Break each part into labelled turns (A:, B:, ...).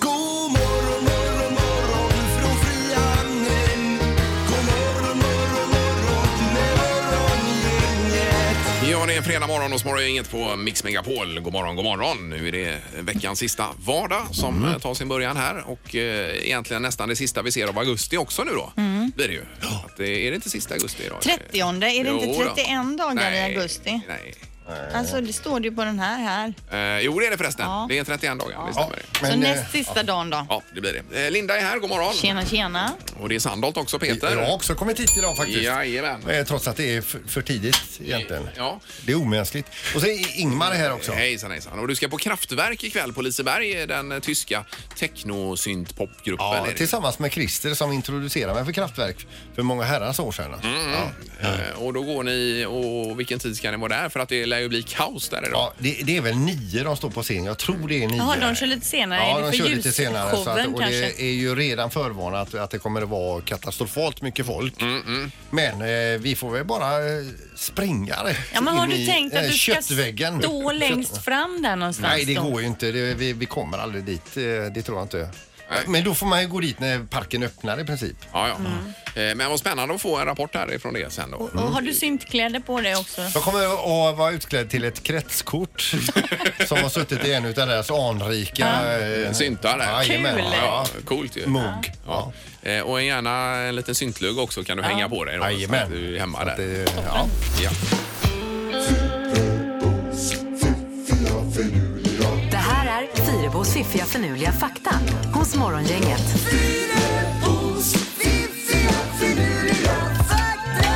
A: God morgon morgon morgon från Frihamnen. God morgon morgon morgon morgongänget.
B: Ja, det är fredag morgon och smorgon inget på Mix Megapol. God morgon, god morgon. Nu är det veckans sista vardag som
C: Mm.
B: eh, tar sin början här och eh, egentligen nästan det sista vi ser av augusti också nu då.
C: Mm.
B: Blir det ju. Att, eh, är det inte sista augusti idag?
C: 30, är det
B: Jo
C: inte
B: då.
C: 31 dagar
B: Nej,
C: i augusti?
B: Nej.
C: Alltså det står det ju på den här här.
B: Eh, jo, det är det förresten.
C: Ja.
B: Det är 31 dagar, det stämmer. det.
C: Så
D: Men, eh,
C: näst sista dagen då.
B: Ja, det blir det. Eh, Linda är här, god morgon.
C: Tjena tjena.
B: Och det är Sandholt också, Peter.
E: Jag har också kommit hit idag faktiskt.
B: Jajamän.
E: Eh, Trots att det är f- för tidigt egentligen.
B: Ja.
E: Det är omänskligt. Och så är Ingmar här också.
B: Hejsan hejsan. Och du ska på Kraftwerk ikväll på Liseberg, den eh, tyska technosyntpopgruppen.
E: Ja,
B: är det.
E: tillsammans med Christer som introducerade mig för Kraftwerk för många herrans år sedan.
B: Mm,
E: Ja.
B: Eh, Och då går ni och vilken tid ska ni vara där? För att det lär ju bli kaos där idag.
E: Ja, det, det är väl nio de står på scen. Jag tror det är nio.
C: Jaha, de kör lite senare.
E: Ja,
C: är det
E: de
C: för
E: kör lite senare. Så att,
C: ljusshowen
E: och
C: kanske?
E: det är ju redan förvarnat att, att det kommer att vara katastrofalt mycket folk.
B: Mm,
E: Men eh, vi får väl bara eh, springa rätt
C: Ja, men har
E: in
C: du
E: i,
C: tänkt
E: eh,
C: att du ska
E: köttväggen.
C: stå längst fram där någonstans?
E: Nej, det
C: då?
E: går ju inte. Det, vi, vi kommer aldrig dit. eh, Det tror jag inte. Men då får man ju gå dit när parken öppnar i princip.
B: Ja, ja. Eh, Men vad spännande att få en rapport härifrån det sen
E: Mm.
B: då.
C: Och har du syntkläder på dig också?
E: Jag kommer att vara utklädd till ett kretskort som har suttit i en av deras anrika... eh,
B: En synta där.
E: Jajamän.
C: Kul.
B: Ja,
E: Ja,
B: coolt ju.
E: Mugg.
B: Ja. Eh, Och en gärna en liten syntlugg också kan du hänga på dig. Då, så att
E: Jajamän.
B: du är hemma
E: Så att
B: där.
E: det- Ja.
B: Ja.
F: Det här är Fyrabos fiffiga förnuliga fakta hos Morgongänget.
A: Fyrabos fiffiga finurliga fakta.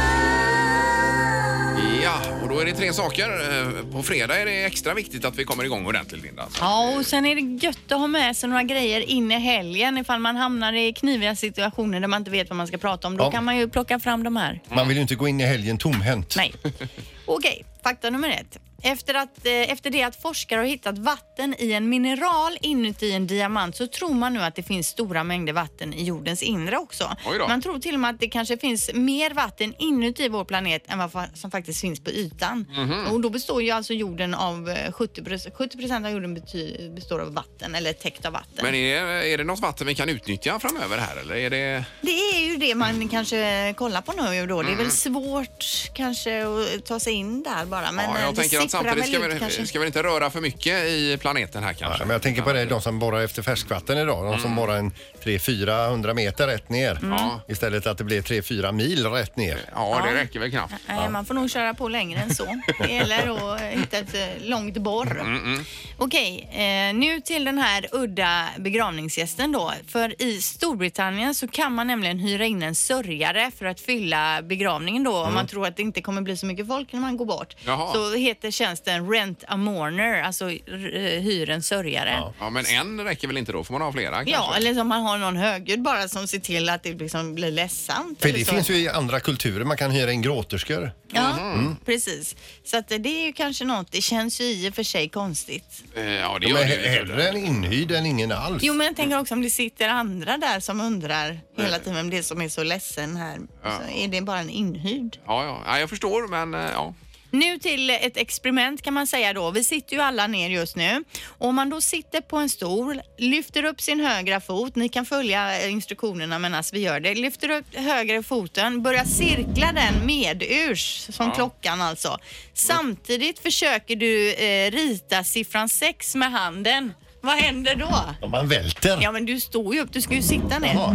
B: ja, och då är det tre saker. Eh, På fredag är det extra viktigt att vi kommer igång ordentligt Linda.
C: Ja, och sen är det gött att ha med sig några grejer in i helgen ifall man hamnar i kniviga situationer där man inte vet vad man ska prata om. Då
E: Ja.
C: kan man ju plocka fram de här.
E: Man vill ju inte gå in i helgen tomhänt.
C: Nej. Okej, fakta nummer ett. Efter, att, eh, efter det att forskare har hittat vatten i en mineral inuti en diamant så tror man nu att det finns stora mängder vatten i jordens inre också.
B: Oj då.
C: Man tror till och med att det kanske finns mer vatten inuti vår planet än vad fa- som faktiskt finns på ytan.
B: Mhm.
C: Och då består ju alltså jorden av eh, 70 70 procent av jorden bety- består av vatten eller täckt av vatten.
B: Men är det, är det något vatten vi kan utnyttja framöver här eller är det...
C: Det är ju det man kanske kollar på nu då. Det
B: Mm.
C: är väl svårt kanske att ta sig in där bara. Men
B: ja,
C: eh,
B: jag
C: det
B: tänker att
C: sipprar
B: samtidigt ska
C: väl ut kanske.
B: vi, ska vi inte röra för mycket i planeten här kanske.
E: Ja, men jag tänker på det, de som borrar efter färskvatten idag. De
B: Mm.
E: som borrar en 300-400 meter rätt ner.
C: Mm.
E: Istället att det blir 3-4 mil rätt ner.
B: Ja, det räcker väl knappt.
C: Nej, man får nog köra på längre än så. Det gäller att hitta ett eh, långt borr.
B: Mm,
C: Okej, eh, nu till den här udda begravningsgästen då. För i Storbritannien så kan man nämligen hyra in en sörjare för att fylla begravningen då om man tror att det inte kommer bli så mycket folk när man går bort.
B: Mm. Jaha.
C: Så heter tjänsten Rent a Mourner, alltså eh, hyr en sörjare.
B: Ja, men en räcker väl inte då? Får man ha flera kanske?
C: Ja, eller som man har någon högljudd bara som ser till att det liksom blir ledsamt.
E: För
C: eller
E: det
C: så.
E: finns ju Mm. i andra kulturer. Man kan hyra in gråterskor.
C: Ja, precis. Så att det är ju kanske något. Det känns ju i och för sig konstigt.
B: Eh, Ja, det
E: De
B: gör
E: är
B: det ju.
E: hellre en inhyrd än ingen alls.
C: Jo, men jag
E: Mm.
C: tänker också om det sitter andra där som undrar hela tiden vem det är som är så ledsen här. Så är det bara en inhyrd?
B: Ja, ja. ja, jag förstår, men eh, ja.
C: Nu till ett experiment kan man säga då. Vi sitter ju alla ner just nu. Om man då sitter på en stol, lyfter upp sin högra fot. Ni kan följa eh, instruktionerna medan vi gör det. Lyfter upp högra foten, börjar cirkla den medurs, som klockan alltså. Samtidigt försöker du eh, rita siffran 6 med handen. Vad händer då?
E: Om man välter.
C: Ja men du står ju upp, du ska ju sitta ner.
E: Ja.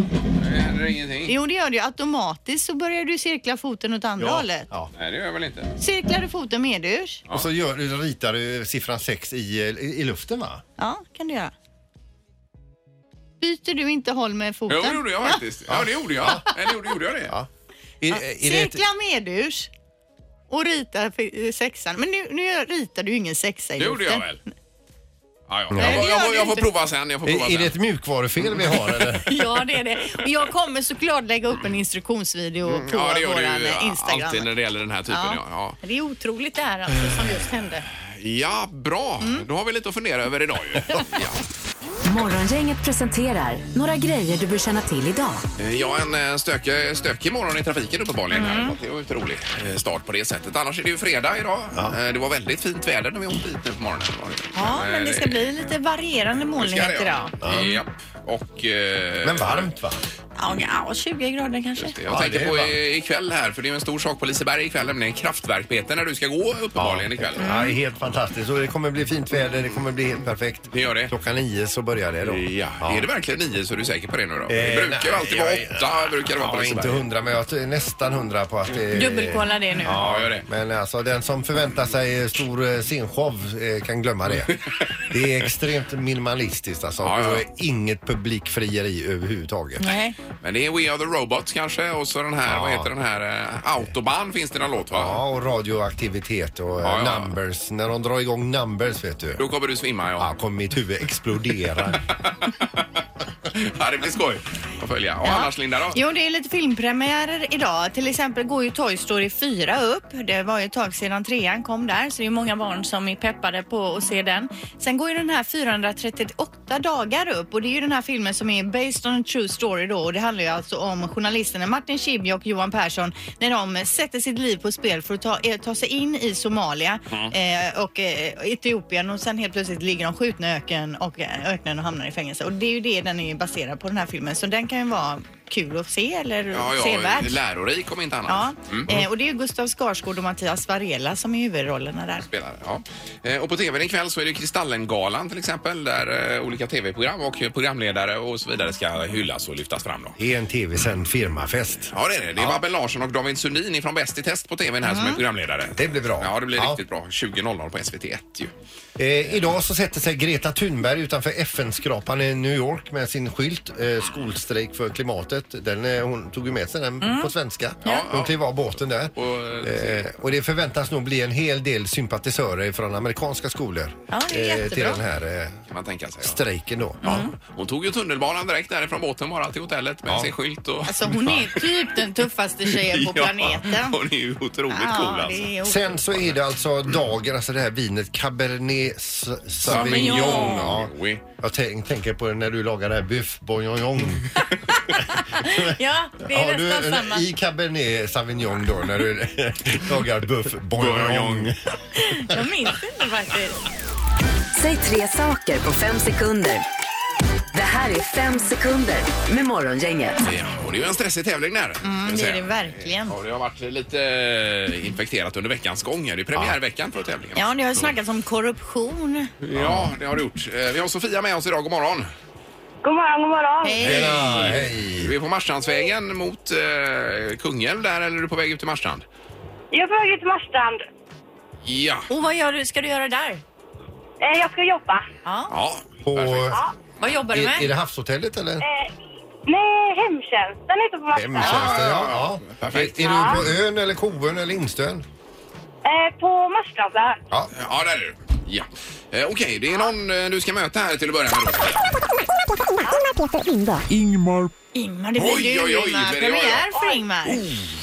B: Det händer ingenting.
C: Jo det gör du ju. Automatiskt så börjar du cirkla foten åt andra hållet.
E: Ja.
B: Nej, det gör jag väl inte.
C: Cirklar du foten medurs?
E: Och så gör, du- ritar du siffran 6 i, i, i luften va?
C: Ja, kan du göra. Byter du inte håll med
B: Jo,
C: foten?
B: det gjorde jag faktiskt. Ja, det gjorde jag. Eller gjorde, gjorde jag det?
E: Ja. Är,
B: Eh,
E: är det ett,
C: Cirkla medurs eh, och rita f- sexan. Men nu, nu gör- ritar du ju ingen sexa i
B: Det gjorde jag
C: luften.
B: väl. Ja, ja.
C: Nej,
B: Jag,
C: det
B: får- jag,
C: gör
B: får-
C: det
B: jag får
C: inte.
B: prova sen. Jag får prova
E: Är, är det ett
B: sen.
E: mjukvarufel vi har eller?
C: Ja, det är det. Och jag kommer såklart lägga upp en instruktionsvideo på
B: Mm. Ja, det gör
C: våran
B: du ju
C: Instagram.
B: alltid när det gäller den här typen. Ja. Ja.
C: Det är otroligt det här alltså, som just hände.
B: ja, bra.
C: Mm.
B: Då har vi lite att fundera över idag ju. ja.
F: Morgongänget presenterar några grejer du bör känna till idag.
B: Eh, Ja, en eh, stök, eh, stökig morgon i trafiken uppenbarligen.
C: Mm.
B: här. Det var ju en rolig eh, start på det sättet. Annars är det ju fredag idag. Eh, Det var väldigt fint väder när vi åkte hit nu på morgonen.
C: Ja,
B: Eh,
C: men det ska bli lite varierande
B: det ska det,
C: molnighet
B: ja.
C: idag.
B: Japp. Och... eh,
E: Men varmt va?
C: Ja, ja, 20 grader kanske.
B: Jag
E: Ja, det
B: tänkte
E: är
B: på
E: varmt.
B: i- ikväll här, för det är ju en stor sak på Liseberg ikväll, nämligen kraftverkbeten när du ska gå uppenbarligen ikväll.
E: Ja, det är helt fantastiskt. Och det kommer bli fint väder, det kommer bli helt perfekt.
B: Det gör det.
E: Klockan nio så börjar det då.
B: Ja. Är det verkligen nio så är du säker på det nu då? det
E: Eh,
B: brukar ju
E: nej,
B: alltid
E: jag
B: vara
E: är-
B: åtta, brukar det vara på
E: Ja, inte
B: Liseberg.
E: hundra, men jag är nästan hundra på att det
C: Dubbelkolla det nu.
B: Ja, gör det.
E: Men alltså den som förväntar sig stor eh, scenshow eh, kan glömma det. Det är extremt minimalistiskt alltså.
B: Ja, ja.
E: Och inget publikfrieri överhuvudtaget.
C: Nej.
B: Men det är We Are The Robots kanske och så den här, vad heter den här, eh, Autobahn finns det någon låt va?
E: Ja, och radioaktivitet och eh,
B: Ja, ja.
E: numbers. När de drar igång numbers vet du.
B: Då kommer du svimma
E: Ja,
B: ja.
E: kommer mitt huvud explodera.
B: ja det blir skoj att följa. Och annars Linda då?
C: Jo, det är lite filmpremiärer idag. Till exempel går ju Toy Story 4 upp. Det var ju ett tag sedan trean kom där, så det är många barn som är peppade på att se den. Sen går ju den här 438 dagar upp och det är ju den här filmen som är based on a true story då och det handlar ju alltså om journalisterna Martin Schibbye och Johan Persson när de sätter sitt liv på spel för att ta, eh, ta sig in i Somalia eh, och eh, Etiopien och sen helt plötsligt ligger de skjutna i öken och eh, öknen och hamnar i fängelse. Och det är ju det den är baserad på den här filmen så den kan ju vara kul att se eller
B: Ja, ja,
C: sevärd.
B: lärorik om inte
C: Ja,
B: annat.
C: eh, och det är ju Gustav Skarsgård och Mattias Varela som är huvudrollerna där.
B: Spelare, ja. Eh, Och på tvn ikväll så är det Kristallengalan till exempel där eh, olika tv-program och programledare och så vidare ska hyllas och lyftas fram då.
E: Det är en tv-sänd firmafest.
B: Ja det är det. Det är Babben Larsson och David Sundin ifrån Bäst i test på tvn här som är programledare.
E: Det blir bra.
B: Ja det blir
E: Ja.
B: riktigt bra. 20.00 på SVT1 ju.
E: Eh, idag så sätter sig Greta Thunberg utanför FN-skrapan i New York med sin skylt eh, Skolstrejk för klimatet. Den, eh, hon tog ju med sig den på svenska.
B: Ja, ja.
E: hon klev av båten där.
B: Och,
E: Eh, och det förväntas nog bli en hel del sympatisörer från amerikanska skolor
C: Ja, det är
E: till
C: jättebra. Mm.
E: den här eh,
B: kan man tänka sig. Ja.
E: strejken då.
B: Hon tog ju tunnelbanan direkt därifrån båten bara till hotellet med sin skylt och...
C: Alltså hon är typ den tuffaste tjejen på
B: Ja,
C: planeten.
B: Hon är ju otroligt cool
C: Ja,
B: alltså.
C: det är
E: Sen så är det alltså dagen, alltså det här vinet Cabernet S- Sauvignon.
B: Sauvignon.
E: Ja.
B: Oui.
E: Jag tänk, tänker på när du lagar det här buff bourguignon.
C: Ja, det
E: Ja,
C: är
E: du,
C: nästan samma.
E: I Cabernet Sauvignon då när du lagar buff bourguignon.
B: Bourguignon.
C: Jag minns inte faktiskt.
F: Säg tre saker på fem sekunder. Det här är fem sekunder med Morgongänget.
B: Ja, och det är ju en stressig tävling där. Mm,
C: Det är det verkligen.
B: Ja, det har varit lite eh, infekterat under veckans gång. här. Det är premiärveckan för tävlingen.
C: Ja, det har ju snackats om korruption.
B: Ja, det har det gjort. Eh, Vi har Sofia med oss idag. God morgon.
G: God morgon, god morgon.
C: Hej.
E: Ja, hej.
B: Du är på Marstrandsvägen mot eh, Kungälv där, eller är du på väg ut till Marstrand?
G: Jag är på väg ut till Marstrand.
B: Ja.
C: Och vad gör du, ska du göra där?
G: Eh, jag ska jobba.
C: Ja.
B: Ja,
E: På,
B: perfekt.
C: Vad jobbar du
E: är, är det
C: med?
E: Havshotellet eller?
G: Eh, nej, hemtjänsten är ute på Marstrand.
E: Hemtjänsten, ja. ja.
B: Perfekt.
E: Är, är du på ön eller Koön eller Instön?
G: Eh, på Marstrand.
E: Ja.
B: Ja, där är du. Ja. Eh, Okej, det är någon eh, du ska möta här till att börja med. då.
C: Ingmar, det blir
B: Oj,
C: ju
B: oj, oj,
C: Ingmar.
B: det är
C: Premiär
B: jag. Oh,
C: för Ingmar.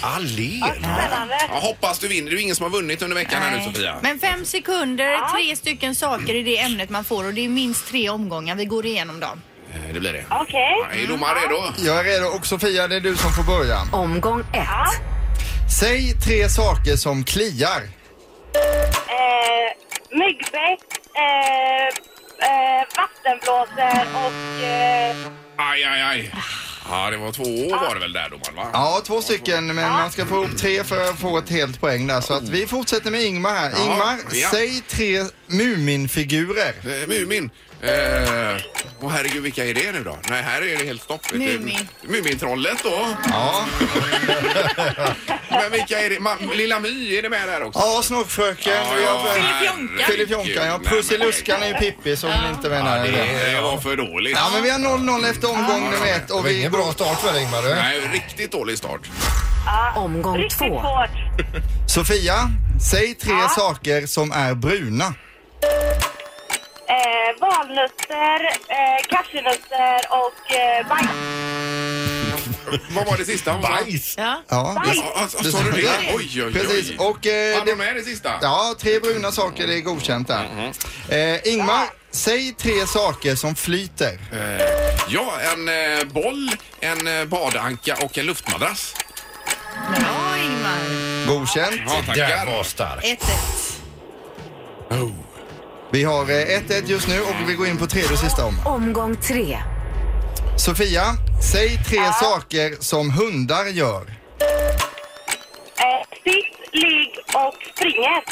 E: Allén.
G: Spännande.
B: Ja, hoppas du vinner. Det är ju ingen som har vunnit under veckan här nu, Sofia.
C: Men fem sekunder, tre stycken saker i det ämnet man får och det är minst tre omgångar. Vi går igenom dem.
B: Eh, Det blir det.
G: Okej.
B: Ja, är domaren redo?
H: Jag är redo och Sofia det är du som får börja.
F: Omgång ett.
H: Säg tre saker som kliar.
G: Eh, myggbett, eh, eh, vattenblåsor och... Eh,
B: Aj, aj, aj. Ja, det var två år var det väl där domaren, va?
H: Ja, två stycken men man ska få ihop tre för att få ett helt poäng där. Så att vi fortsätter med Ingmar här.
B: Ja,
H: Ingmar,
B: ja.
H: säg tre Muminfigurer.
B: Eh, Mumin. Eh, åh, herregud, vilka är det nu då? Nej, här är det helt stopp. vet du.
C: Mumin.
B: Mumintrollet då.
H: Ja,
B: Men vilka är det? Ma- Lilla My, är det med där också?
H: ja Snorkfröken. och jag-
B: herregud.
H: Filifjonkan, ja.
B: Nej,
H: Prussiluskan är ju Pippi som inte
B: men-
H: menar
B: Ja,
H: det.
B: det, det var för dåligt.
H: Ja, men vi har 0-0 efter omgång nummer ett
E: Det
H: och
E: var
H: vi
E: ingen bra start för dig, Ingmar. du.
B: Nej, riktigt dålig start.
F: Omgång
G: riktigt
F: två.
G: svårt.
H: Sofia, säg tre saker som är bruna.
G: Eh, vad valnötter, eh, cashewnötter och eh, bajs.
B: Vad var det sista?
E: Bajs!
C: Ja.
H: Ja.
G: Bajs.
B: Ja, alltså, Sa du det? Oj, oj, oj.
H: Precis. Och, eh,
B: Hade du med det sista?
H: Ja, tre bruna saker är godkänt där. Eh, Ingmar, säg tre saker som flyter.
B: Ja, en eh, boll, en eh, badanka och en luftmadrass.
C: Bra Ingmar.
H: Godkänt.
B: Ja,
E: Där
B: tackar.
E: var stark.
C: 1
B: Oh.
H: Vi har eh, 1-1 just nu och vi går in på tredje och sista om.
F: Omgång tre.
H: Sofia, säg tre saker som hundar gör.
G: Eh, sitt, ligg och springer.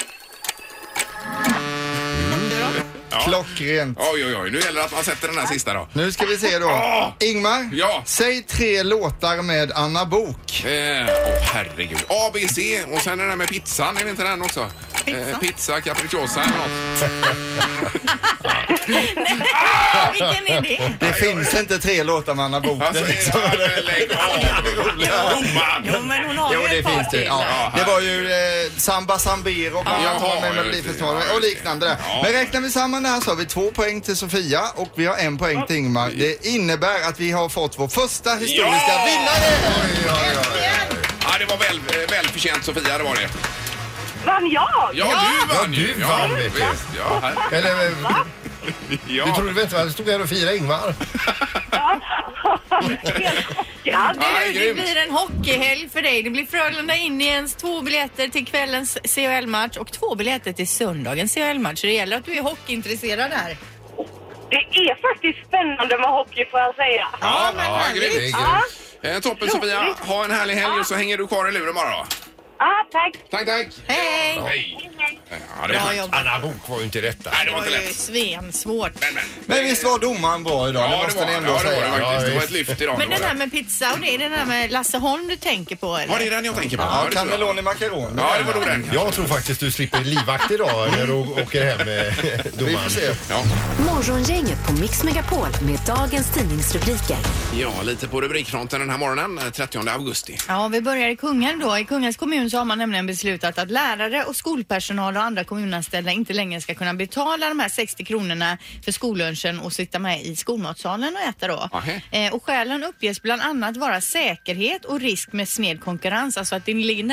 H: Klockrent.
B: Oj, oj, oj. Nu gäller det att man sätter den här sista då. Ah!
H: Nu ska vi se då. Ingmar,
B: Ja.
H: säg tre låtar med Anna Bok.
B: Eh, åh, herregud. A, B, C och sen är det där med pizzan. Är det inte den också? Eh, pizza, capricciosa eller något.
C: Vilken är det?
H: Det finns inte tre låtar med Anna Bok.
B: Alltså, eh, lägg av!
C: Jo,
B: Domaren!
C: men hon har
H: Jo,
C: ju
H: det
C: ett par
H: finns det.
C: till.
H: Ja.
B: Ja,
H: Det var ju eh, Samba Sambir och bland annat
B: Jaha,
H: var med i
B: just det. Ja,
H: Melodifestivalen och
B: just det.
H: liknande. där.
B: Ja.
H: Men räknar vi samman det här så har vi två poäng till Sofia och vi har en poäng till Ingmar. Det innebär att vi har fått vår första historiska
B: Ja!
H: vinnare!
B: Ja, det var väl, eh, välförtjänt Sofia, det var det.
G: Vann jag?
B: Ja, du vann ju!
E: du vann, vet du.
B: visst. Ja, här-
E: Eller, du
B: ja.
E: trodde väl inte att jag stod här och firade Ingmar?
G: Helt chockad.
B: Ja,
C: Du, det
B: grymt.
C: blir en hockeyhelg för dig. Det blir Frölunda in i ens två biljetter till kvällens CHL-match och två biljetter till söndagens CHL-match. Så Det gäller att du är hockeyintresserad här.
G: Det är faktiskt spännande med hockey får jag säga.
B: Ja,
C: men
B: ja,
C: härligt.
B: grymt.
G: Ja,
B: Eh, Toppen Sofia, ha en härlig helg och så hänger du kvar i luren bara. då.
G: ja tack.
B: Tack, tack!
C: Hej!
B: Hej! Ja, det var
C: Bra
B: skönt.
C: jobbat.
E: Anna Bok var ju inte rätta.
B: Nej, det var
C: Det
B: inte
C: var ju
B: lätt.
C: svensvårt.
B: Men, men.
H: Men visst var domaren bra idag? det
B: Ja, det
H: måste
B: var
H: ni
B: det.
H: ändå
B: Ja, det var
H: säga.
B: det faktiskt. Det var
E: visst.
B: ett lyft idag.
C: Men
B: det
C: den
B: var
C: här
B: det.
C: med pizza och det är den här med Lasse Holm du tänker på
B: Ja,
C: eller?
B: det är den jag tänker på.
H: Ja,
B: det tror jag.
H: cannelloni macaroni.
B: Ja, det var nog den.
E: Jag tror faktiskt du slipper livvakt idag när du åker hem eh,
H: Vi får se.
E: domaren.
B: Ja.
F: Morgongänget på Mix Megapol med dagens tidningsrubriker.
B: ja, lite på rubrikfronten den här morgonen, eh, 30 augusti.
C: Ja, vi börjar i Kungälv då. I Kungälvs kommun så har man nämligen beslutat att lärare och skolpersonal och andra kommunanställda inte längre ska kunna betala de här 60 kronorna för skollunchen och sitta med i skolmatsalen och äta då.
B: Aha.
C: Eh, och skälen uppges bland annat vara säkerhet och risk med sned konkurrens, alltså att det ligger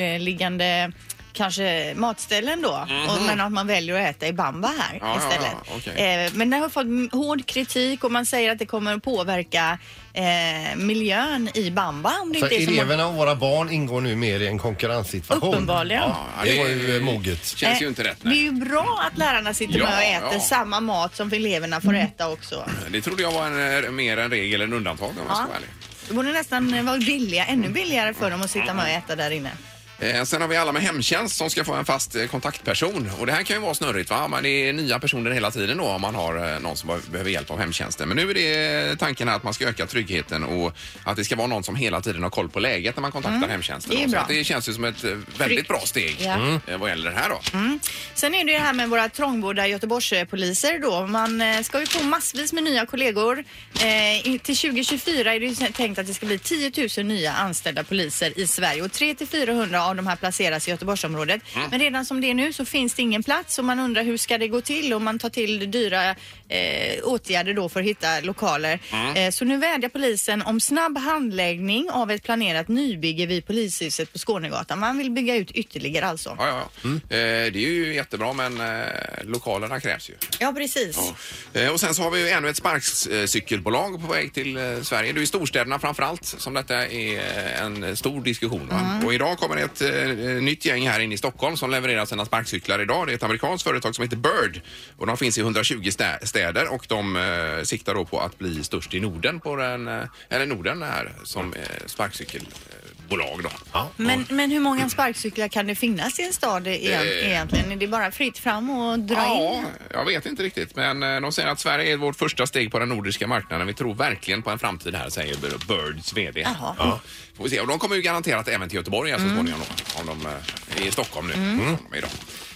C: närliggande kanske matställen då, och, men att man väljer att äta i bamba här
B: Mhm. Ja, ja, ja,
C: istället.
B: okej.
C: Eh, Men den har fått m- hård kritik och man säger att det kommer att påverka eh, miljön i bamba om det
E: Så
C: inte är så många-
E: eleverna och våra barn ingår nu mer i en konkurrenssituation.
C: Uppenbarligen.
E: Ja, det var ju eh, moget.
B: Känns ju
C: Eh,
B: inte rätt.
C: Det är
B: Nej.
C: ju bra att lärarna sitter
B: Ja,
C: med och äter
B: ja.
C: samma mat som eleverna får äta också.
B: Det trodde jag var en, eh, mer en regel än undantag om jag ska
C: Ja.
B: vara ärlig.
C: Det borde nästan vara billiga, ännu billigare för dem att sitta med och äta där inne.
B: Eh, Sen har vi alla med hemtjänst som ska få en fast eh, kontaktperson. Och det här kan ju vara snurrigt va? Man är nya personer hela tiden då om man har eh, någon som be- behöver hjälp av hemtjänsten. Men nu är det eh, tanken här att man ska öka tryggheten och att det ska vara någon som hela tiden har koll på läget när man kontaktar hemtjänsten.
C: Mm. det är
B: då. Så
C: bra.
B: att det känns ju som ett eh, väldigt
C: Tryggt.
B: bra steg
C: Ja. Mm.
B: eh, vad gäller det här då.
C: Sen är det ju det här med våra trångbodda Göteborgspoliser då. Man eh, ska ju få massvis med nya kollegor. Eh, in- till 2024 är det ju tänkt att det ska bli 10 000 nya anställda poliser i Sverige och 300-400 av de här placeras i Göteborgsområdet. Men redan som det är nu så finns det ingen plats och man undrar hur ska det gå till och man tar till dyra eh, åtgärder då för att hitta lokaler. Eh, så nu vädjar polisen om snabb handläggning av ett planerat nybygge vid polishuset på Skånegatan. Man vill bygga ut ytterligare alltså.
B: Ja, ja, ja. Eh, Det är ju jättebra men eh, lokalerna krävs ju.
C: Ja, precis.
B: Eh, Och sen så har vi ju ännu ett sparkcykelbolag på väg till eh, Sverige. Det är i storstäderna framförallt som detta är eh, en stor diskussion. Va? Och idag kommer det ett eh, nytt gäng här inne i Stockholm som levererar sina sparkcyklar idag. Det är ett amerikanskt företag som heter Bird och de finns i 120 stä- städer och de eh, siktar då på att bli störst i Norden på den, eh, eller Norden här som eh, sparkcykelbolag då.
C: Men, men hur många sparkcyklar kan det finnas i en stad igen,
B: Eh.
C: egentligen? Är det bara fritt fram och dra
B: Ja,
C: in?
B: jag vet inte riktigt. Men eh, de säger att Sverige är vårt första steg på den nordiska marknaden. Vi tror verkligen på en framtid här, säger Bir- Birds VD.
C: Jaha. Mm.
B: Ja. Får vi se. Och de kommer ju garanterat även till Göteborg här så småningom då, om de eh, är i Stockholm nu. Som de är idag.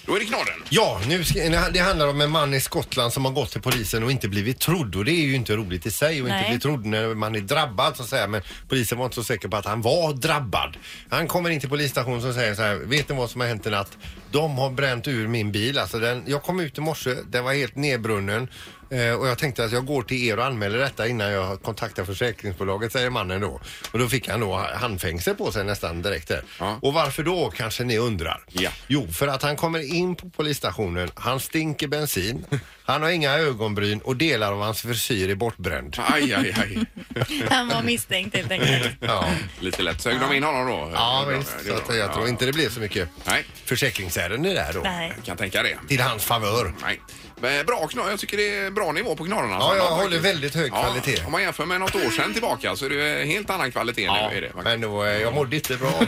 B: Då är det knorren.
E: Ja, nu ska, det handlar om en man i Skottland som har gått till polisen och inte blivit trodd och det är ju inte roligt i sig och
C: Nej.
E: inte bli trodd när man är drabbad så att säga men polisen var inte så säker på att han var drabbad. Han kommer in till polisstationen och säger så här, vet ni vad som har hänt i natt? De har bränt ur min bil, alltså den, jag kom ut i morse, den var helt nedbrunnen Eh, Och jag tänkte att jag går till er och anmäler detta innan jag kontaktar försäkringsbolaget, säger mannen då. Och då fick han då handfängsel på sig nästan direkt där.
B: Ja.
E: Och varför då kanske ni undrar?
B: Ja.
E: Jo, för att han kommer in på polisstationen, han stinker bensin, han har inga ögonbryn och delar av hans frisyr är bortbränd.
B: Aj, aj, aj.
C: Han var misstänkt helt enkelt.
E: Ja,
B: Lite lätt. Sög de in honom då?
E: ja
B: Det är
E: visst.
B: bra, det är
E: Så att
B: bra.
E: jag tror
B: Ja.
E: inte det blev så mycket
B: Nej.
E: försäkringsärende där då.
C: Nej.
B: Jag kan tänka det.
E: Till hans favör.
B: Nej. Men Bra knorr. Jag tycker det är bra nivå på knorrarna.
E: Ja, jag
B: Faktiskt.
E: håller väldigt hög kvalitet.
B: Om man jämför med något år sedan tillbaka så är det helt annan kvalitet nu. Är det.
E: Men då, eh, jag mådde inte bra.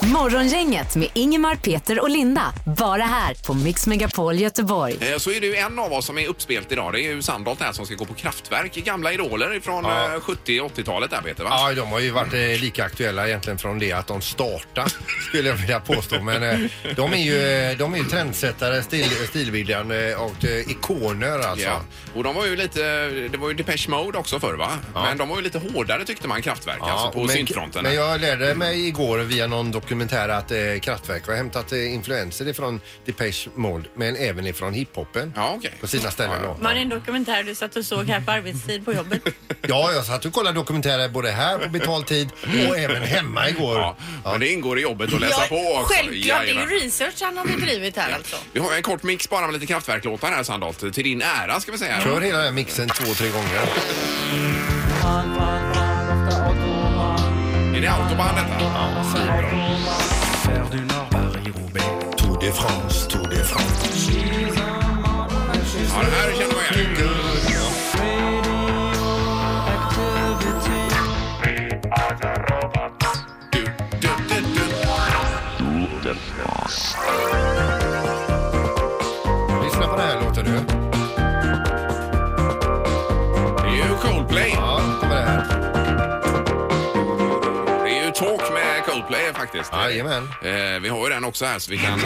F: Morgongänget med Ingemar, Peter och Linda. Bara här på Mix Megapol Göteborg.
B: Eh, Så är det ju en av oss som är uppspelt idag. Det är ju Sandholt här som ska gå på kraftverk. Gamla idoler från
E: Ja.
B: eh, 70 och 80-talet där Peter va?
E: Ja, de har ju varit eh, lika aktuella egentligen från det att de startade, skulle jag vilja påstå. Men eh, de är ju, eh, de är ju trendsättare, stil, stilbildande och eh, ikoner alltså.
B: Ja. Och de var ju lite, det var ju Depeche Mode också förr va? Men de var ju lite hårdare tyckte man kraftverk
E: Ja,
B: alltså på
E: men,
B: syntfronten.
E: men jag lärde mig igår via någon dokumentär att eh, Kraftwerk har hämtat eh, influenser ifrån Depeche Mode men även ifrån hiphopen
B: Ja, okej.
E: på sina ställen.
B: Ja,
E: Ja,
C: Var det en dokumentär du satt och såg här på arbetstid på jobbet?
E: ja, jag satt och kollade dokumentärer både här på betald tid och även hemma igår.
B: Ja, men det ingår i jobbet att läsa
C: Ja,
B: på också.
C: Självklart, det är
B: Jajamän.
C: ju research han har bedrivit här alltså.
B: Vi har en kort mix bara med lite kraftverklåtar här Sandholt. Till din ära ska vi säga.
E: Kör hela den här mixen två, tre gånger.
B: Är det autobahn detta? Ja, svinbra.
E: Tour de France, Tour de France.
B: Ja, det här känner man igen. Du, du, du, du.
E: Lyssna på den här låten nu.
B: Det är ju Coldplay.
E: Ja, kommer det här.
B: Det är ju Talk med Coldplay faktiskt.
E: Jajamän.
B: Eh, vi har ju den också här så vi kan...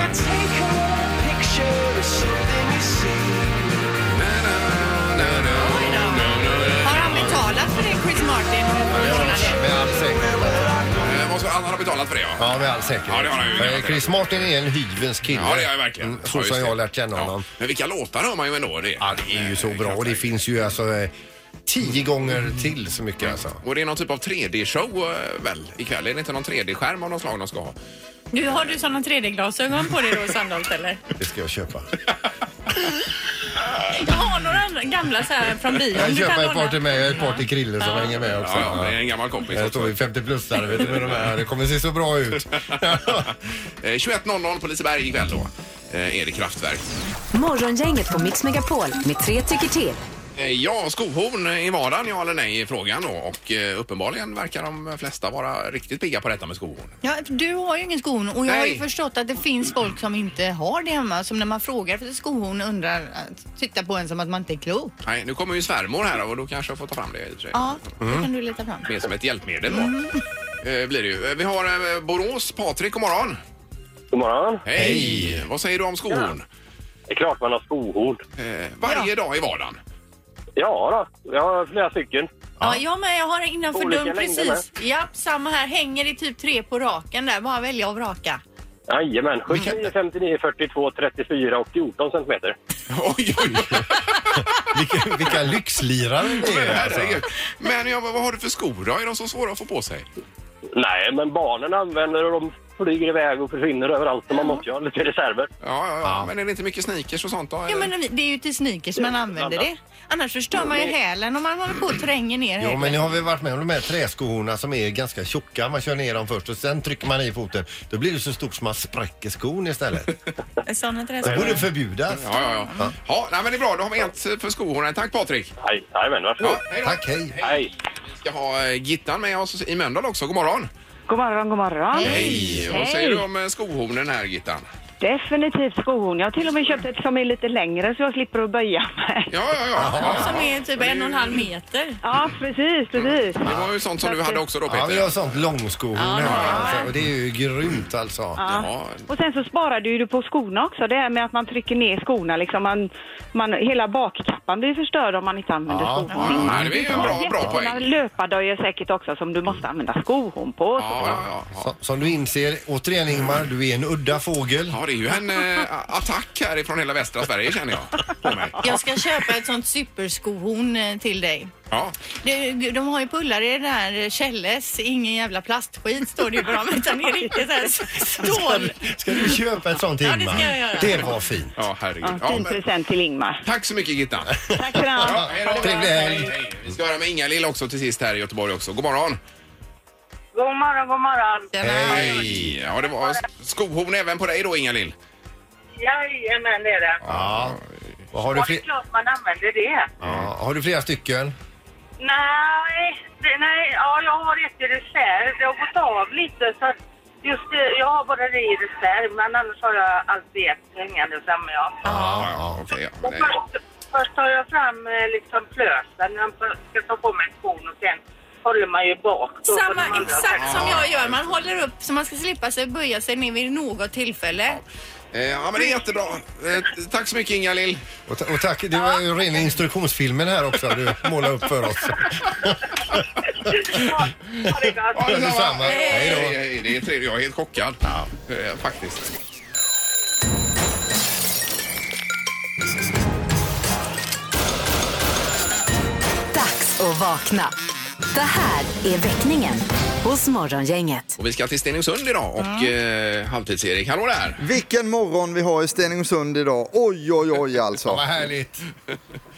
C: Har han betalat för det Chris Martin?
E: Med all säkerhet.
B: Eh, vad ska- Han har betalat för det ja.
E: Ja, med all säkerhet.
B: Ja, det har han ju.
E: För Chris Martin är en hyvens kille.
B: Ja, det är jag verkligen.
E: Mm,
B: Ja,
E: Så
B: just
E: som jag har
B: det.
E: lärt känna
B: Ja.
E: honom.
B: Men vilka låtar hör man ju ändå. Det.
E: Ja, det är ju så bra. Och det finns ju alltså eh, tio gånger till så mycket alltså.
B: Och det är någon typ av 3D-show eh, väl ikväll? Är det inte någon 3D-skärm av något slag de ska ha?
C: Nu har du sådana 3D-glasögon på dig då Sandholt eller?
E: Det ska jag köpa.
C: Jag har några andra gamla så här från bion.
E: Jag
C: Du kan
E: köper ett par
C: låna.
E: till mig och ett par till Krille som hänger med också.
B: Ja, ja, det är en gammal kompis
E: Jag står
B: också.
E: i 50 plus där, vet du med de här. Det kommer se så bra ut.
B: Eh, 21.00 på Liseberg ikväll då. Eh, är det kraftverk.
F: Morgongänget på Mix Megapol med tre tycker till.
B: Eh, Ja, skohorn i vardagen, ja eller nej, i frågan då. Och eh, uppenbarligen verkar de flesta vara riktigt pigga på detta med skohorn.
C: Ja, du har ju ingen skohorn och jag har ju
B: Nej.
C: förstått att det finns folk som inte har det hemma. Som när man frågar för skohorn undrar, att- tittar på en som att man inte är klok.
B: Nej, nu kommer ju svärmor här och då kanske jag får ta fram det i och för sig.
C: Ja, det kan du leta fram.
B: Mer som ett hjälpmedel då. Eh, blir det ju. Eh, Vi har eh, Borås, Patrik, god morgon.
I: God morgon.
B: Hej! Vad säger du om skohorn?
I: Det är klart man har skohorn.
B: Eh, varje dag i vardagen.
I: Ja då, jag har flera stycken.
C: Ja, jag med. Jag har innanför
I: Olika
C: dörren
I: längder
C: precis. Ja, samma här. Hänger i typ tre på raken där. Bara välja och vraka.
I: Jajamän, 79, 59, 42, 34 och 14 centimeter.
B: Oj, oj, oj.
E: vilka, vilka lyxlirare ni är alltså.
B: Herregud. Men ja, vad vad har du för skor då? Är de så svåra att få på sig?
I: Nej, men barnen använder och de flyger iväg och försvinner överallt så man måste ju ha lite reserver.
B: Ja, ja, ja. Men är det inte mycket sneakers och sånt då?
C: Ja,
B: eller?
C: men det är ju till sneakers man använder det. Annars förstör man ju hälen om man håller på och tränger ner
E: Jo,
C: hälen.
E: men nu har vi varit med om de här träskohorna som är ganska tjocka. Man kör ner dem först och sen trycker man i foten. Då blir det så stort som man spräcker skon istället.
C: Sådana
E: Det
C: träskor.
E: borde förbjudas.
B: Ja, ja, ja. ja nej, men det är bra. Då har vi ett för skohornen. Tack Patrik!
I: Aj- Jajamän, varsågod.
B: Ja, hej då.
E: Tack, hej.
I: Hej.
B: Vi ska ha eh, Gittan med oss i Mölndal också. God morgon!
G: God morgon, god morgon.
B: Hej! Vad säger du om eh, skohornen här Gittan?
G: Definitivt skohorn. Jag har till och med köpt ett som är lite längre så jag slipper att böja mig.
B: Ja, ja, ja.
C: Som är typ en och en halv meter.
G: Ja, precis, precis.
B: Det var ju sånt som du hade också då
E: Ja,
B: Peter.
E: vi har sånt långskohorn här. Alltså. Och det är ju grymt alltså.
B: Ja.
G: Och sen så sparar du ju på skorna också. Det här med att man trycker ner skorna liksom. Man, man, hela bakkappan blir förstörd om man inte använder
E: Ja.
G: skohorn.
B: Ja, nej, det är ju en bra, bra
G: Jättemånga
B: poäng.
G: löpardojor säkert också som du måste använda skohorn på.
B: Ja, ja, ja.
E: Så, som du inser, återigen Ingmar, du är en udda fågel.
B: Ja, det det är ju en eh, attack här ifrån hela västra Sverige känner jag.
C: Jag ska köpa ett sånt superskohorn eh, till dig.
B: Ja.
C: Det, de har ju pullare i det här eh, Kjelles, ingen jävla plastskit står det ju på dem, utan det är riktigt så här stål.
E: Ska du köpa ett sånt
C: Ja, det ska jag göra.
E: Det var fint.
B: Ja, herregud.
J: Ja, fin present till Ingmar.
B: Tack så mycket Gitta.
J: Tack för allt.
E: Trevlig helg.
B: Vi ska höra med Inga-Lill också till sist här i Göteborg också. God morgon.
G: God morgon, god morgon.
B: Hej! Ja, det var skohorn även på dig då Inga-Lill.
G: Jajamän, det är det.
E: Ja. Vad har, du
G: Och det
E: fler,
G: är klart man använder det.
E: ja, har du flera stycken?
G: Nej, det, nej ja, jag har ett i reserv. Det har gått av lite. Så att just det, jag har bara det i reserv, men annars har jag alltid ett hängande framme. Ja.
B: Ja, ja, okej. ja.
G: Och först, först tar jag fram eh, liksom plösen när jag ska ta på mig skon och sen håller man ju bak. då på
C: Samma,
G: de andra.
C: exakt som jag gör. Man håller upp så man ska slippa sig böja sig ner vid något tillfälle.
B: Eh, Ja, men det är jättebra. Eh, Tack så mycket Inga-Lill.
E: Och, ta- och tack, det var ju rena instruktionsfilmen här också du målade upp för oss.
G: Ja, det är gott.
B: Ja, detsamma.
E: Detsamma. Hej då.
B: Hej, hej. Det är trevligt. Jag är helt chockad. Eh, Faktiskt.
F: Dags att vakna. Det här är väckningen hos Morgongänget.
B: Och vi ska till Stenungsund idag och eh, Halvtids-Erik, hallå där!
H: Vilken morgon vi har i Stenungsund idag. Oj, oj, oj alltså.
E: Vad härligt.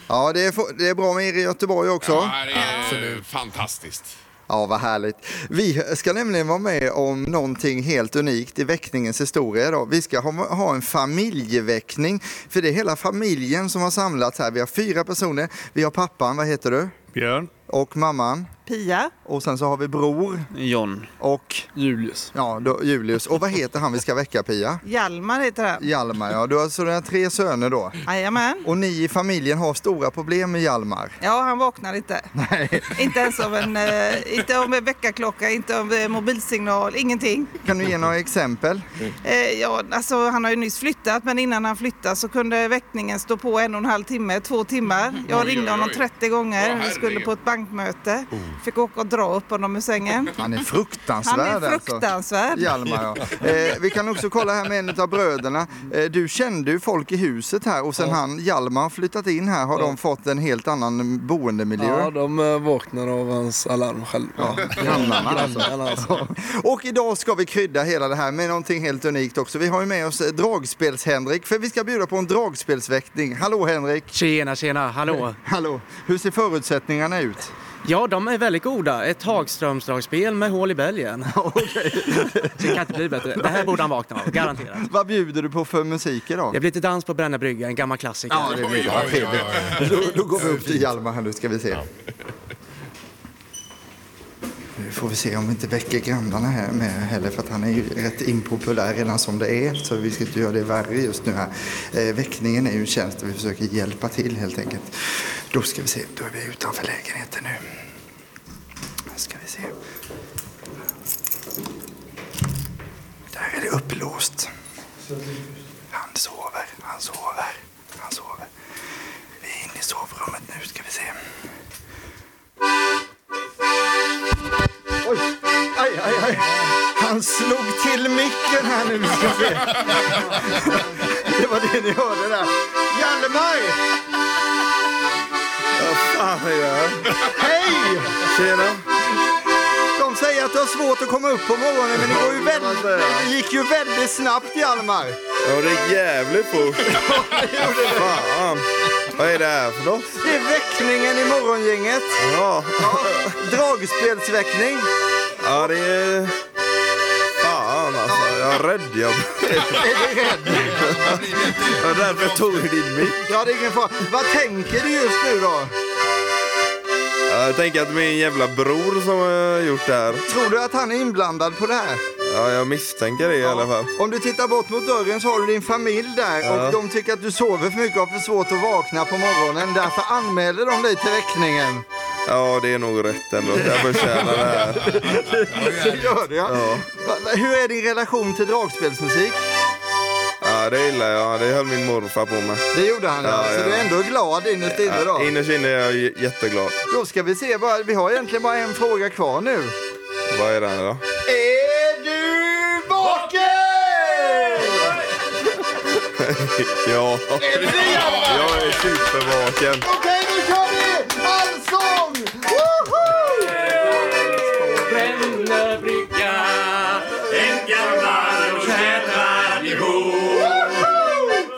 H: Ja, det är, f- det är bra med er i Göteborg också.
B: Ja, det är Absolut. fantastiskt.
H: Ja, vad härligt. Vi ska nämligen vara med om någonting helt unikt i väckningens historia idag. Vi ska ha, ha en familjeväckning, för det är hela familjen som har samlats här. Vi har fyra personer. Vi har pappan, vad heter du?
K: Björn.
H: Och mamman? Pia. Och sen så har vi bror.
K: John.
H: Och?
K: Julius.
H: Ja, då, Julius. Och vad heter han vi ska väcka, Pia?
L: Hjalmar heter han.
H: Hjalmar, ja. Du har sådana tre söner då.
L: Jajamän.
H: Och ni i familjen har stora problem med Hjalmar.
L: Ja, han vaknar inte. Inte ens av en, eh, inte av en väckarklocka, inte av eh, mobilsignal, ingenting.
H: Kan du ge några exempel?
L: Eh, ja, alltså, han har ju nyss flyttat, men innan han flyttade så kunde väckningen stå på en och en halv timme, två timmar. Jag
H: Oj, oj,
L: ringde honom
H: oj.
L: 30
H: Åh,
L: gånger. Vi
H: herregud.
L: skulle på ett bankmöte. Fick åka och dra upp honom ur sängen.
H: Han är fruktansvärd
L: Han är
H: alltså.
L: fruktansvärd.
H: Hjalmar, ja. eh, Vi kan också kolla här med en av bröderna. Eh, du kände ju folk i huset här och sen han, Hjalmar har flyttat in här har de fått en helt annan boendemiljö.
M: Ja, de eh, vaknar av hans alarm själv. Ja,
H: grannarna alltså. Och idag ska vi krydda hela det här med någonting helt unikt också. Vi har ju med oss eh, dragspels-Henrik för vi ska bjuda på en dragspelsväckning. Hallå Henrik! Eh,
N: Tjena, tjena, hallå!
H: Hallå! Hur ser förutsättningarna ut?
N: Ja, de är väldigt goda. Ett Hagströmsdragspel med hål i bälgen. Det kan inte bli bättre. Det här borde han vakna av, garanterat.
H: Vad bjuder du på för musik idag?
N: Det blir lite dans på Bränna brygga, en gammal klassiker.
H: Ja, det blir bra. Trevligt. Då, då går vi upp till Hjalmar här nu ska vi se. Nu får vi se om vi inte väcker grannarna här med heller för att han är ju rätt impopulär redan som det är. Så vi ska inte göra det värre just nu här. Eh, väckningen är ju en tjänst där vi försöker hjälpa till helt enkelt. Då ska vi se, då är vi utanför lägenheten nu. Ska vi se. Där är det upplåst. Han sover, han sover, han sover. Vi är inne i sovrummet nu ska vi se. Oj, aj, aj, aj. Han slog till micken här nu ska vi se. Det var det ni hörde där. Hjalmar! Vad fan är det? Hej! Tjena. De säger att du har svårt att komma upp på morgonen men det, går ju väldigt, det gick ju väldigt snabbt Hjalmar.
O: Ja, det är jävligt fort. Fan. Vad är det här för något?
H: Det är väckningen i morgongänget.
O: Ja.
H: Dragspelsväckning.
O: Ja, det är... Fan alltså, jag är rädd jag
H: Är du rädd?
O: Det var därför jag tog din mick.
H: Ja, det är ingen fara. Vad tänker du just nu då?
O: Jag tänker att det är min jävla bror som har gjort det här.
H: Tror du att han är inblandad på det här?
O: Ja, jag misstänker det i alla fall.
H: Om du tittar bort mot dörren så har du din familj där
O: Ja.
H: och de tycker att du sover för mycket och har för svårt att vakna på morgonen. Därför anmäler de dig till väckningen.
O: Ja, det är nog rätt ändå. Jag förtjänar det här.
H: Det gör det, ja. Va- va- Hur är din relation till dragspelsmusik?
O: Ja, det gillar jag. Det höll min morfar på med.
H: Det gjorde han, ja. Så du är ändå glad innerst inne då?
O: Ja, innerst inne är jag j- jätteglad.
H: Då ska vi se, bara- vi har egentligen bara en fråga kvar nu.
O: Vad är det här då?
H: Är du vaken?
P: ja.
A: Är det det, grabbar?
P: Jag är supervaken.
A: Okej, nu kör vi! Allsång! Woho! Bränner brygga, en gammal och kär tradition.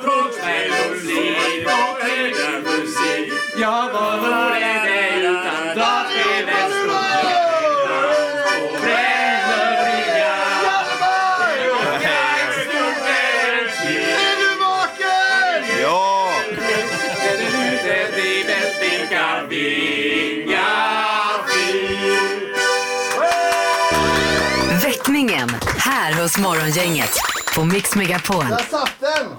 A: Från kväll och frid och höga musik. Jag var vore dig utan dagen är stor. Bränner brygga, en stor värld till. Är du vaken?
P: Ja!
A: Den är ute, driver, vinkar, vingar, ving.
F: Väckningen här hos Morgongänget på Mix Megapol.
C: satt den!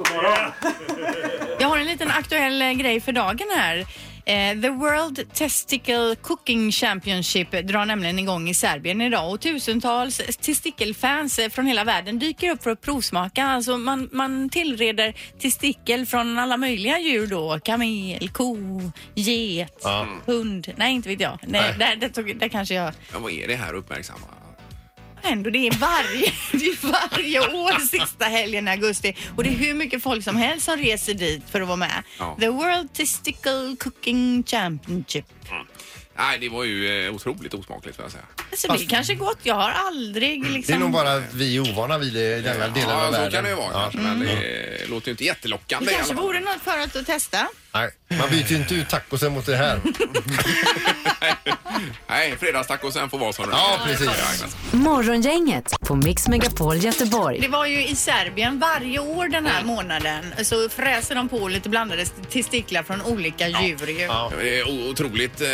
C: Jag har en liten aktuell eh, grej för dagen här. Eh, The World Testicle Cooking Championship drar nämligen igång i Serbien idag och tusentals testikelfans eh, från hela världen dyker upp för att provsmaka. Alltså man, man tillreder testikel från alla möjliga djur då. Kamel, ko, get,
B: Ja.
C: hund. Nej, inte vet jag. Nej,
B: Nej.
C: Där, där, tog, där kanske jag...
B: Ja, vad är det här uppmärksamma?
C: Ändå, det är varje, det är varje år sista helgen i augusti och det är hur mycket folk som helst som reser dit för att vara med.
B: Ja.
C: The World Testicle Cooking Championship.
B: Nej, det var ju eh, otroligt osmakligt får jag säga.
C: Alltså, det är kanske gott. Jag har
B: Mm,
C: aldrig liksom...
E: Det är nog bara vi ovana vid det i denna delen
B: Ja, så
E: av världen. Mm.
B: kan det ju vara kanske, men det eh, låter ju inte
C: Det
B: jättelockande i alla
C: kanske
B: fall.
C: vore något för att testa.
E: Nej, man byter ju inte ut tacosen mot det här.
B: Nej, fredagstacosen får vara som den
E: Ja,
B: är.
E: precis.
B: Jajamän.
F: Morgongänget på Mix Megapol Göteborg.
C: Det var ju i Serbien varje år den här månaden så fräser de på lite blandade testiklar från olika djur ju.
B: Ja. Det är o- otroligt eh,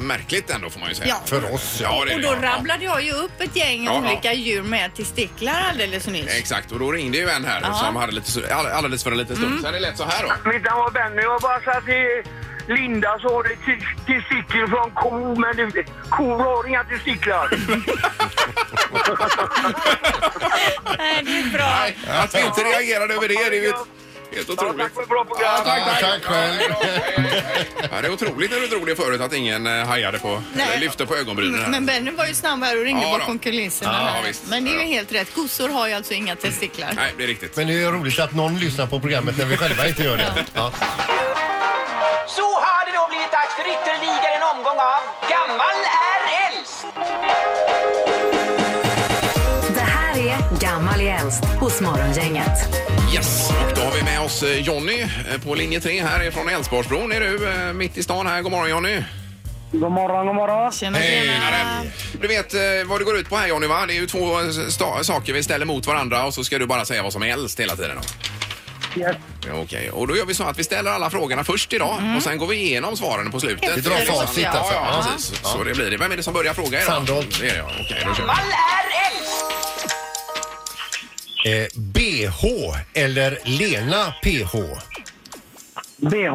B: märkligt ändå får man ju säga.
C: Ja. För
B: oss. Ja, det är
C: Och
B: det.
C: då
B: ja.
C: rabblade jag ju upp ett gäng
B: Ja, ja.
C: olika djur med testiklar alldeles nyss.
B: Exakt, och då ringde ju en här
C: Ja.
B: som hade lite, så- all- alldeles för en liten stund
C: Mm.
B: sedan. Det lät så här då.
Q: Mitt namn var Benny och jag bara sa till Linda så har det tes- testiklar från ko, men det, kor har inga testiklar.
C: Nej, det är bra.
B: Att vi inte reagerade över det, det är ju ett- helt otroligt. tack för ett bra program. Ja, tack, tack. Ja, det är otroligt när du drog det förut att ingen eh, hajade på,
C: Nej.
B: eller lyfte på ögonbrynen. här.
C: Men Benny var ju snabb här och ringde
B: Ja, då.
C: bakom kulisserna.
B: Ja,
C: här.
B: visst.
C: Men det är ju helt rätt. Kossor har ju alltså inga testiklar.
B: Nej, det är riktigt.
E: Men det är ju roligt att någon lyssnar på programmet när vi själva inte gör det. Ja.
A: Så har det då blivit dags för ytterligare en omgång av Gammal är äldst.
F: Det här är Gammal i äldst hos Morgongänget.
B: Yes, och då har vi med oss eh, Jonny eh, på linje 3 här ifrån Älvsborgsbron. Är du eh, mitt i stan här? God morgon Jonny!
Q: God morgon, god morgon.
C: Tjena,
B: Du vet eh, vad det går ut på här Jonny va? Det är ju två eh, sta- saker vi ställer mot varandra och så ska du bara säga vad som är äldst hela tiden. Då.
Q: Yes.
B: Ja, Okej, och då gör vi så att vi ställer alla frågorna först idag och sen går vi igenom svaren på slutet.
E: Mm. Vi drar facit
B: ja,
E: alltså.
B: Ja,
E: Ja.
B: precis. Så det blir det. Vem är det som börjar fråga idag?
E: Sandholt.
B: Det är jag. Okej, då kör vi.
A: Gammal är äldst.
E: Eh, BH eller Lena PH?
Q: BH.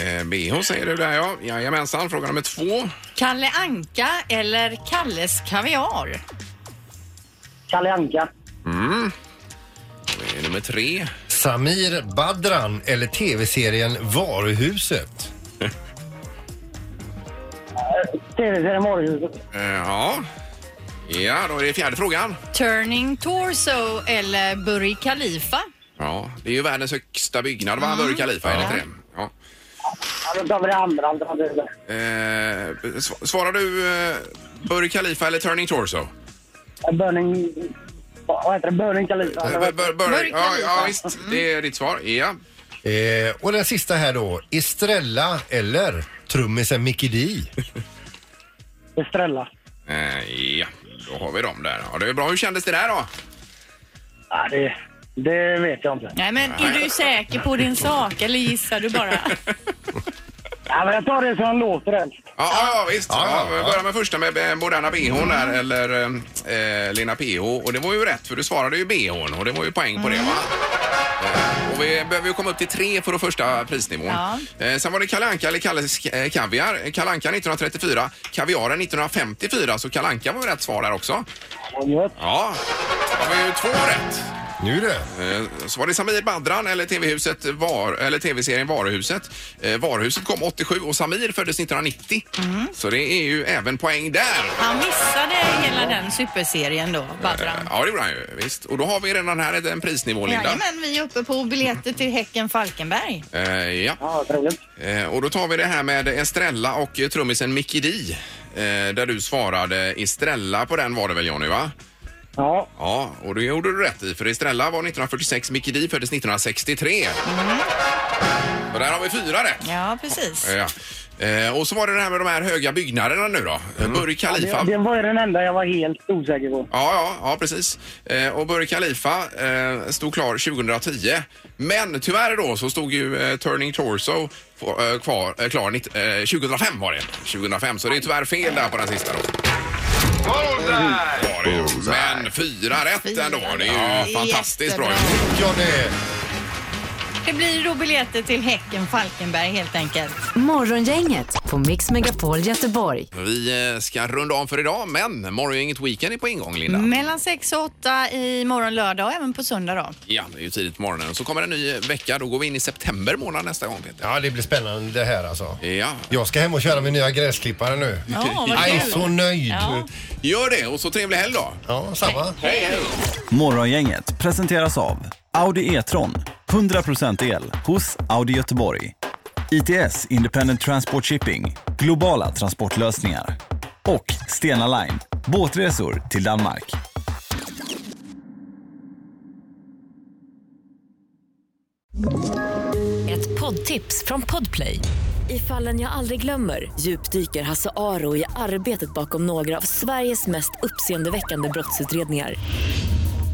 B: Eh, BH säger du där ja. Jajamensan, fråga nummer två.
C: Kalle Anka eller Kalles Kaviar?
Q: Kalle Anka.
B: Mm. Eh, Nummer tre.
E: Samir Badran eller tv-serien Varuhuset?
Q: Tv-serien Varuhuset.
B: Eh, Ja. Ja, då är det fjärde frågan.
C: Turning Torso eller Burj Khalifa?
B: Ja, det är ju världens högsta byggnad, va? Burj Khalifa, är det inte det? Ja.
Q: Ja, då tar vi det andra alternativet.
B: Eh, sv- svarar du eh, Burj Khalifa eller Turning Torso?
Q: Burning... Vad heter det? Burning Khalifa?
B: Bur, bur, bur, Eh, ja, ja, visst. Det är ditt svar. Ja.
E: Eh, och den sista här då. Estrella eller trummisen Mickey D?
Q: Estrella.
B: Eh, ja, då har vi dem där. Ja, det är bra. Hur kändes det där då?
Q: Ja, det, det vet jag inte.
C: Nej, men är du säker på din sak eller gissar du bara?
Q: Ja, men jag tar det som låter helst.
B: Ja, ja, ja visst.
Q: Ja,
B: Ja,
Q: ja,
B: vi börjar med första med eh, moderna bhn där, eller eh, eh, Lena PH. Och det var ju rätt, för du svarade ju bhn och det var ju poäng på det, va? Eh, Och vi behöver ju komma upp till tre för den första prisnivån.
A: Ja.
B: Eh, sen var det Kalanka eller Kalles eh, Kaviar. Kalanka 1934, Kaviaren 1954, så Kalanka var ju rätt svar där också.
Q: Ja,
B: Ja, det var ju två rätt.
E: Nu det.
B: Eh, Så var det Samir Badran eller TV-huset var, eller TV-serien Varuhuset. Eh, Varuhuset kom 87 och Samir föddes 1990. Så det är ju även poäng där.
C: Han missade hela den superserien då, Badran.
B: Eh, Ja, det gjorde han ju. Visst. Och då har vi redan här en prisnivå, Linda.
C: Jajamän, vi är uppe på biljetter till Häcken Falkenberg.
B: Eh, ja. Eh, och då tar vi det här med Estrella och eh, trummisen Mickey D. Eh, där du svarade Estrella på den var det väl Johnny va? Ja. Ja, och det gjorde du rätt i för Estrella var 1946, Mickey D föddes 1963. Och där har vi fyra rätt.
C: Ja, precis.
B: Eh, Ja. Eh, och så var det det här med de här höga byggnaderna nu då. Mm. Burj Khalifa.
R: Ja, det, det var ju den enda jag var helt osäker på.
B: Ja, ja, ja precis. Eh, och Burj Khalifa eh, stod klar 2010. Men tyvärr då så stod ju eh, Turning Torso på, eh, kvar, eh, klar nitt- eh, 2005 var det. 2005, så det är tyvärr fel där på den sista då. Var det ju. Men fyra rätt ändå. Det är ju
C: Fyra.
B: fantastiskt bra.
C: Jättebra.
E: Ja, det
C: Det blir då biljetter till Häcken Falkenberg helt enkelt.
F: Morgongänget på Mix Megapol Göteborg.
B: Vi eh, ska runda om för idag, men Morgongänget Weekend är på ingång, Linda.
C: Mellan 6 och 8 i morgon lördag och även på söndag då.
B: Ja, det är ju tidigt på morgonen. Så kommer en ny vecka. Då går vi in i september månad nästa gång, Peter.
E: Ja, det blir spännande det här alltså.
B: Ja.
E: Jag ska hem och köra min nya gräsklippare nu.
B: Ja, vad
E: jag är
B: kul.
E: så nöjd.
B: Ja. Gör det och så trevlig helg då.
E: Ja, samma.
B: Hej, hej.
S: Morgongänget presenteras av Audi E-tron. 100% el hos Audi Göteborg. ITS Independent Transport Shipping. Globala transportlösningar. Och Stena Line. Båtresor till Danmark.
T: Ett poddtips från Podplay. I fallen jag aldrig glömmer djupdyker Hasse Aro i arbetet bakom några av Sveriges mest uppseendeväckande brottsutredningar.